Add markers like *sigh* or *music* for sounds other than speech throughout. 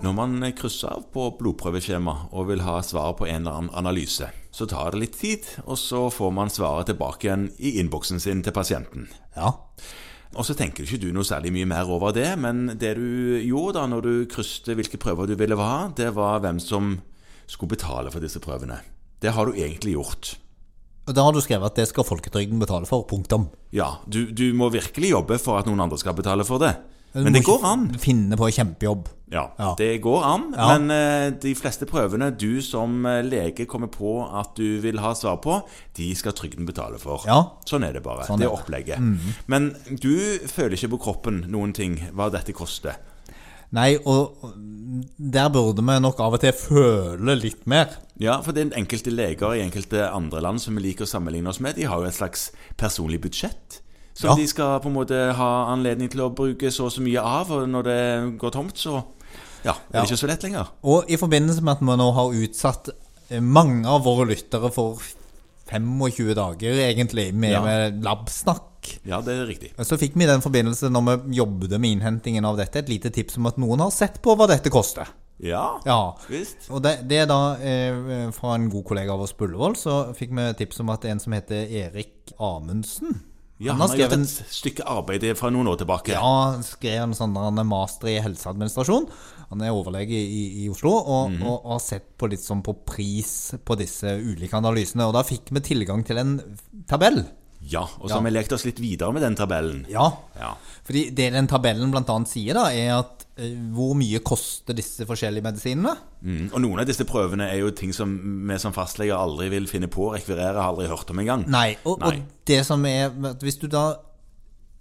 Når man krysser av på blodprøveskjema og vil ha svar på en eller annen analyse, så tar det litt tid, og så får man svaret tilbake igjen i innboksen sin til pasienten. Ja. Og så tenker ikke du noe særlig mye mer over det, men det du gjorde da når du krysset hvilke prøver du ville ha, det var hvem som skulle betale for disse prøvene. Det har du egentlig gjort. Og Da har du skrevet at det skal folketrygden betale for. Punktum. Ja, du, du må virkelig jobbe for at noen andre skal betale for det. Du Men må det går ikke an. Finne på kjempejobb. Ja, Ja. det går an, Ja. men eh, de fleste prøvene du som eh, lege kommer på at du vil ha svar på, de skal trygden betale for. Ja. Sånn er det bare. Sånn det er er det. opplegget. Men du føler ikke på kroppen noen ting, hva dette koster. Nei, og der burde vi nok av og til føle litt mer. Ja, for det er enkelte leger i enkelte andre land som vi liker å sammenligne oss med, de har jo et slags personlig budsjett. Som Ja. de skal på en måte ha anledning til å bruke så og så mye av, og når det går tomt, så ja, er det Ja. ikke så lett lenger. Og i forbindelse med at vi nå har utsatt eh, mange av våre lyttere for 25 dager, egentlig, med, Ja. med labsnakk, Ja, det er riktig. så fikk vi i den forbindelse, når vi jobbet med innhentingen av dette, et lite tips om at noen har sett på hva dette koster. Ja, Ja. visst. Og det, det er da eh, fra en god kollega av oss på Ullevål, så fikk vi tips om at en som heter Erik Amundsen Ja, han har gjort et stykke arbeid fra noen år tilbake. Ja, han skrev en sånn han er master i helseadministrasjon. Han er overlege i, i Oslo og, Mhm. og, og har sett på litt sånn på pris på disse ulike analysene. Og da fikk vi tilgang til en tabell. Ja, og så har vi lekt oss litt videre med den tabellen. Ja. Ja. Fordi det den tabellen blant annet sier, da, er at eh, hvor mye koster disse forskjellige medisinene? Mm. Og noen av disse prøvene er jo ting som vi som fastleger aldri vil finne på å rekvirere, har aldri hørt om engang. Nei, og, Nei. og det som er at Hvis du da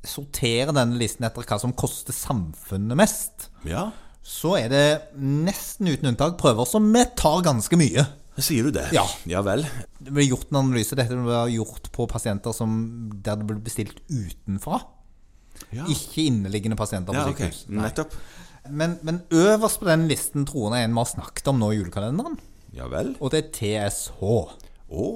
sorterer denne listen etter hva som koster samfunnet mest, Ja, så er det nesten uten unntak prøver som vi tar ganske mye. sier du det? Ja. Ja vel. Det ble gjort en analyse dette ble gjort på pasienter som, der det ble bestilt utenfra. Ja. Ikke inneliggende pasienter på Ja, ok. sykehus. Nettopp. Men, men øverst på den listen tror jeg en vi har snakket om nå i julekalenderen, Ja vel. og det er TSH. Å,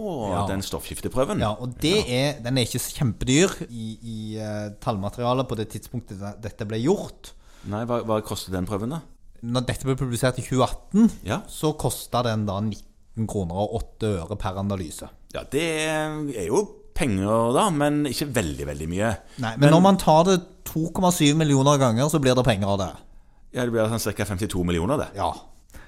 den stoffskifteprøven. Ja, og det er, Den er ikke så kjempedyr i, i eh, tallmaterialet på det tidspunktet det- dette ble gjort. Nei, hva, hva kostet den prøven, da? Når dette ble publisert i 2018, Ja. så kosta den da 19 kroner og 8 øre per analyse. ja, det er jo penger, da, men ikke veldig, veldig mye. Nei, men når man tar det 2,7 millioner ganger, så blir det penger av det. Ja, Det blir sånn ca. 52 millioner, det. Ja.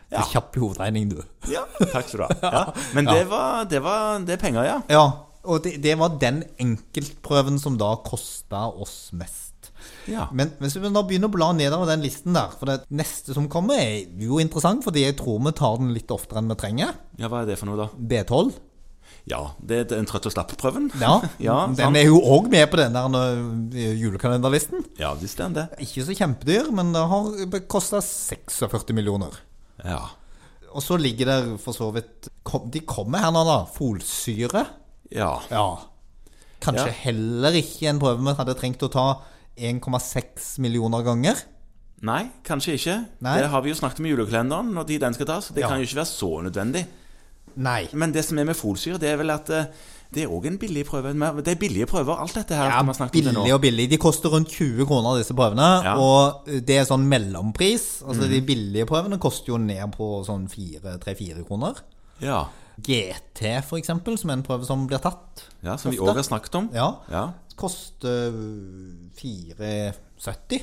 Det er kjapp i hovedregning, du. Ja, takk skal *laughs* du ha. Ja. Men det var, det var det er penger, ja. Ja, *laughs* og det, det var den enkeltprøven som da kosta oss mest. ja. Men hvis vi da begynner å bla nedover den listen der, for det neste som kommer er jo interessant, fordi jeg tror vi tar den litt oftere enn vi trenger. Ja, Hva er det for noe, da? B12. Ja, det er den trøtt og slapp-prøven. *laughs* Ja, *laughs* ja, Den sant. er jo òg med på den der øh, julekalenderlisten. ja, visst er den det. Ikke så kjempedyr, men det har kosta 46 millioner. Ja. Og så ligger der for så vidt kom, De kommer her nå, da. Folsyre. ja. Ja. Kanskje Ja. heller ikke en prøve vi hadde trengt å ta 1,6 millioner ganger. Nei, kanskje ikke. Nei. Det har vi jo snakket om i julekalenderen, når de den skal tas. Det Ja. kan jo ikke være så nødvendig. Nei. Men det som er med folsyre, det er vel at eh, det er òg en billig prøve. Men Det er billige prøver, alt dette her. Ja, som vi har snakket om til billig nå. og billig. De koster rundt 20 kroner, disse prøvene. Ja. Mm. Og det er sånn mellompris. Altså De billige prøvene koster jo ned på sånn 3-4 kroner. Ja. GT, for eksempel, som er en prøve som blir tatt. ja, som vi Ofte. òg har snakket om. Ja. Ja. Koster 4,70.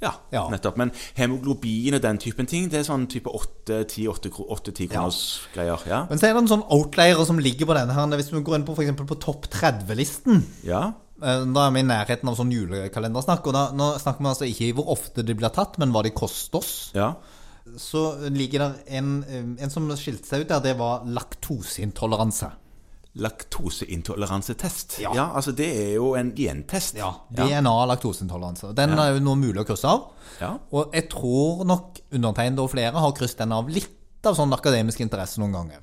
Ja, Ja. nettopp. Men hemoglobin og den typen ting, det er sånn type 8-10 kroners greier. Ja. Men så er det en sånn outlier som ligger på denne her. Hvis vi går inn på for eksempel på topp 30-listen, ja. eh, da er vi i nærheten av sånn julekalendersnakk. Og da, nå snakker vi altså ikke i hvor ofte de blir tatt, men hva de koster oss. Ja. Så ligger der en, eh, en som skilte seg ut der, det var laktoseintoleranse. Laktoseintoleransetest. Ja. Ja. altså det er jo en gentest. ja. DNA-laktoseintoleranse. Den Ja. er jo nå mulig å krysse av. Ja. Og jeg tror nok undertegnede og flere har krysset den av litt av sånn akademisk interesse noen ganger.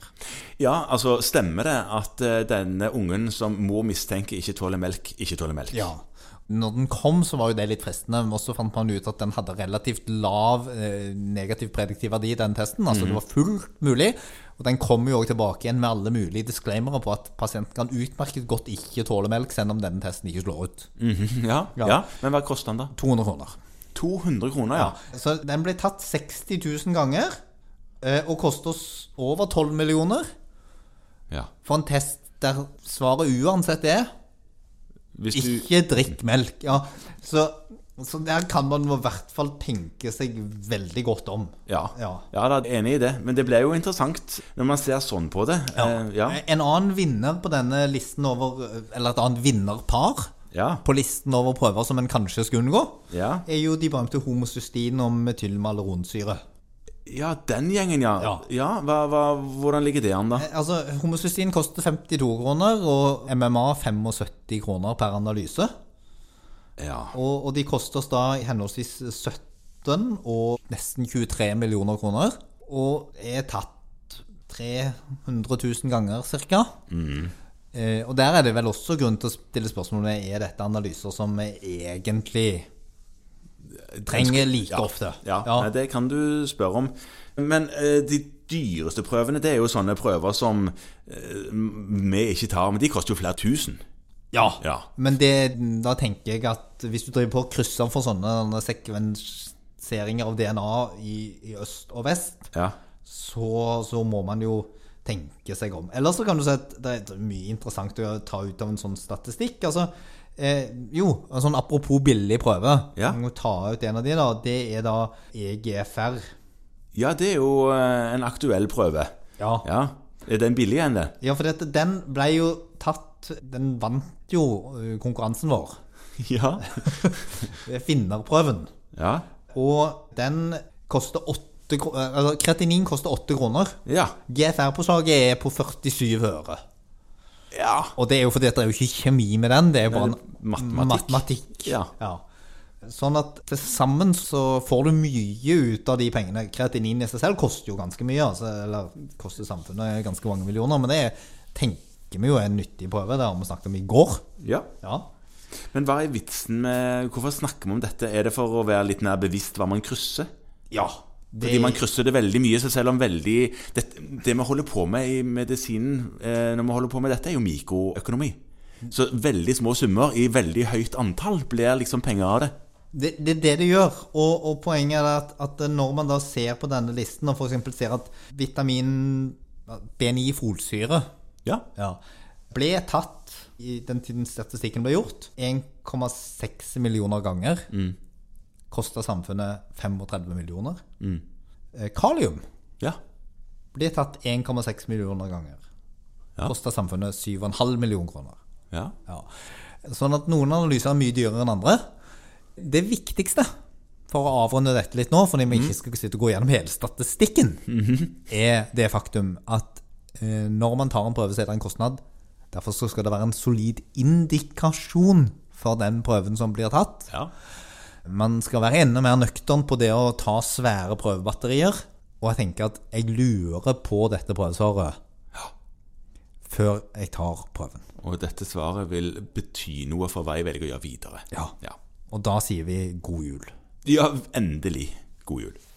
Ja, altså stemmer det at eh, denne ungen som mor mistenker ikke tåler melk, ikke tåler melk? Ja. Når den kom, så var jo det litt fristende. Men så fant man ut at den hadde relativt lav eh, negativ prediktiv verdi, den testen. Altså det var fullt mulig. Og den kommer jo òg tilbake igjen med alle mulige disclaimere på at pasienten kan utmerket godt ikke tåle melk, selv om denne testen ikke slår ut. Mhm, *laughs* ja, Ja. ja. Men hva koster den da? 200 kroner. 200 kroner, ja. Så den ble tatt 60 000 ganger eh, og koster oss over 12 millioner ja. for en test der svaret uansett er Hvis du, ikke drikk melk. Ja. Så, så der kan man i hvert fall tenke seg veldig godt om. ja. Ja. ja da, enig i det. Men det ble jo interessant når man ser sånn på det. Eh, ja. En annen vinner på denne listen over Eller et annet vinnerpar Ja. på listen over prøver som en kanskje skulle unngå, ja. er jo de berømte homocystin og metylmaleronsyre. Ja, den gjengen, ja. ja. Ja. hva, hva, hvordan ligger det an, da? Altså, Homocystin koster 52 kroner, og MMA 75 kroner per analyse. Ja. Og, og de koster oss da henholdsvis 17 og nesten 23 millioner kroner. Og er tatt 300 000 ganger ca. Mm. Eh, og der er det vel også grunn til å stille spørsmålet er dette analyser som vi egentlig trenger like ofte. Ja, Ja. Nei, det kan du spørre om. Men eh, de dyreste prøvene, det er jo sånne prøver som eh, m- vi ikke tar, men de koster jo flere tusen. Ja. Ja. Men det, da tenker jeg at hvis du driver på og krysser for sånne denne sekvenseringer av DNA i, i øst og vest, Ja. så, så må man jo tenke seg om. Eller så kan du si at det er mye interessant å ta ut av en sånn statistikk. Altså, eh, jo, en sånn apropos billig prøve. Ja. Du må ta ut en av de, da. Det er da E EGFR. ja, det er jo eh, en aktuell prøve. Ja. Ja. Er den billig enn det? ja, for dette, den ble jo tatt Den vant jo eh, konkurransen vår. Ja. Finnerprøven. Ja. Og den koster 8 kroner altså Kretinin koster 8 kroner. Ja. GFR-påslaget er på 47 øre. ja. Og det er jo fordi at det er jo ikke kjemi med den, det er jo bare en Nei, det er matematikk. matematikk. Ja. Sånn at til sammen så får du mye ut av de pengene. Kretinin i seg selv koster jo ganske mye, altså, eller koster samfunnet ganske mange millioner, men det er- tenker vi jo er en nyttig prøve, det har vi snakket om i går. ja. Ja. Men hva er vitsen med Hvorfor snakker vi om dette? Er det for å være litt mer bevisst hva man krysser? ja. Fordi man krysser det veldig mye, så selv om veldig Det, det vi holder på med i medisinen eh, når vi holder på med dette, er jo mikroøkonomi. Så veldig små summer i veldig høyt antall blir liksom penger av det. Det det er det, det gjør. Og, og poenget er at, at når man da ser på denne listen, og f.eks. ser at vitamin B9-folsyre Ja. ja, ble tatt i den tiden statistikken ble gjort, 1,6 millioner ganger. Mm. Kosta samfunnet 35 millioner. Eh, Kalium Ja. ble tatt 1,6 millioner ganger. Ja. Kosta samfunnet 7,5 millioner kroner. Ja. Ja. Sånn at noen analyser er mye dyrere enn andre. Det viktigste for å avrunde dette litt nå, fordi vi ikke skal sitte og gå gjennom hele statistikken, er det faktum at eh, når man tar en prøve, så er det en kostnad. Derfor så skal det være en solid indikasjon for den prøven som blir tatt. ja. Man skal være enda mer nøktern på det å ta svære prøvebatterier. Og jeg tenker at jeg lurer på dette prøvesvaret før jeg tar prøven. Og dette svaret vil bety noe for hva jeg velger å gjøre videre. Ja. Ja, Og da sier vi god jul. ja endelig. God jul.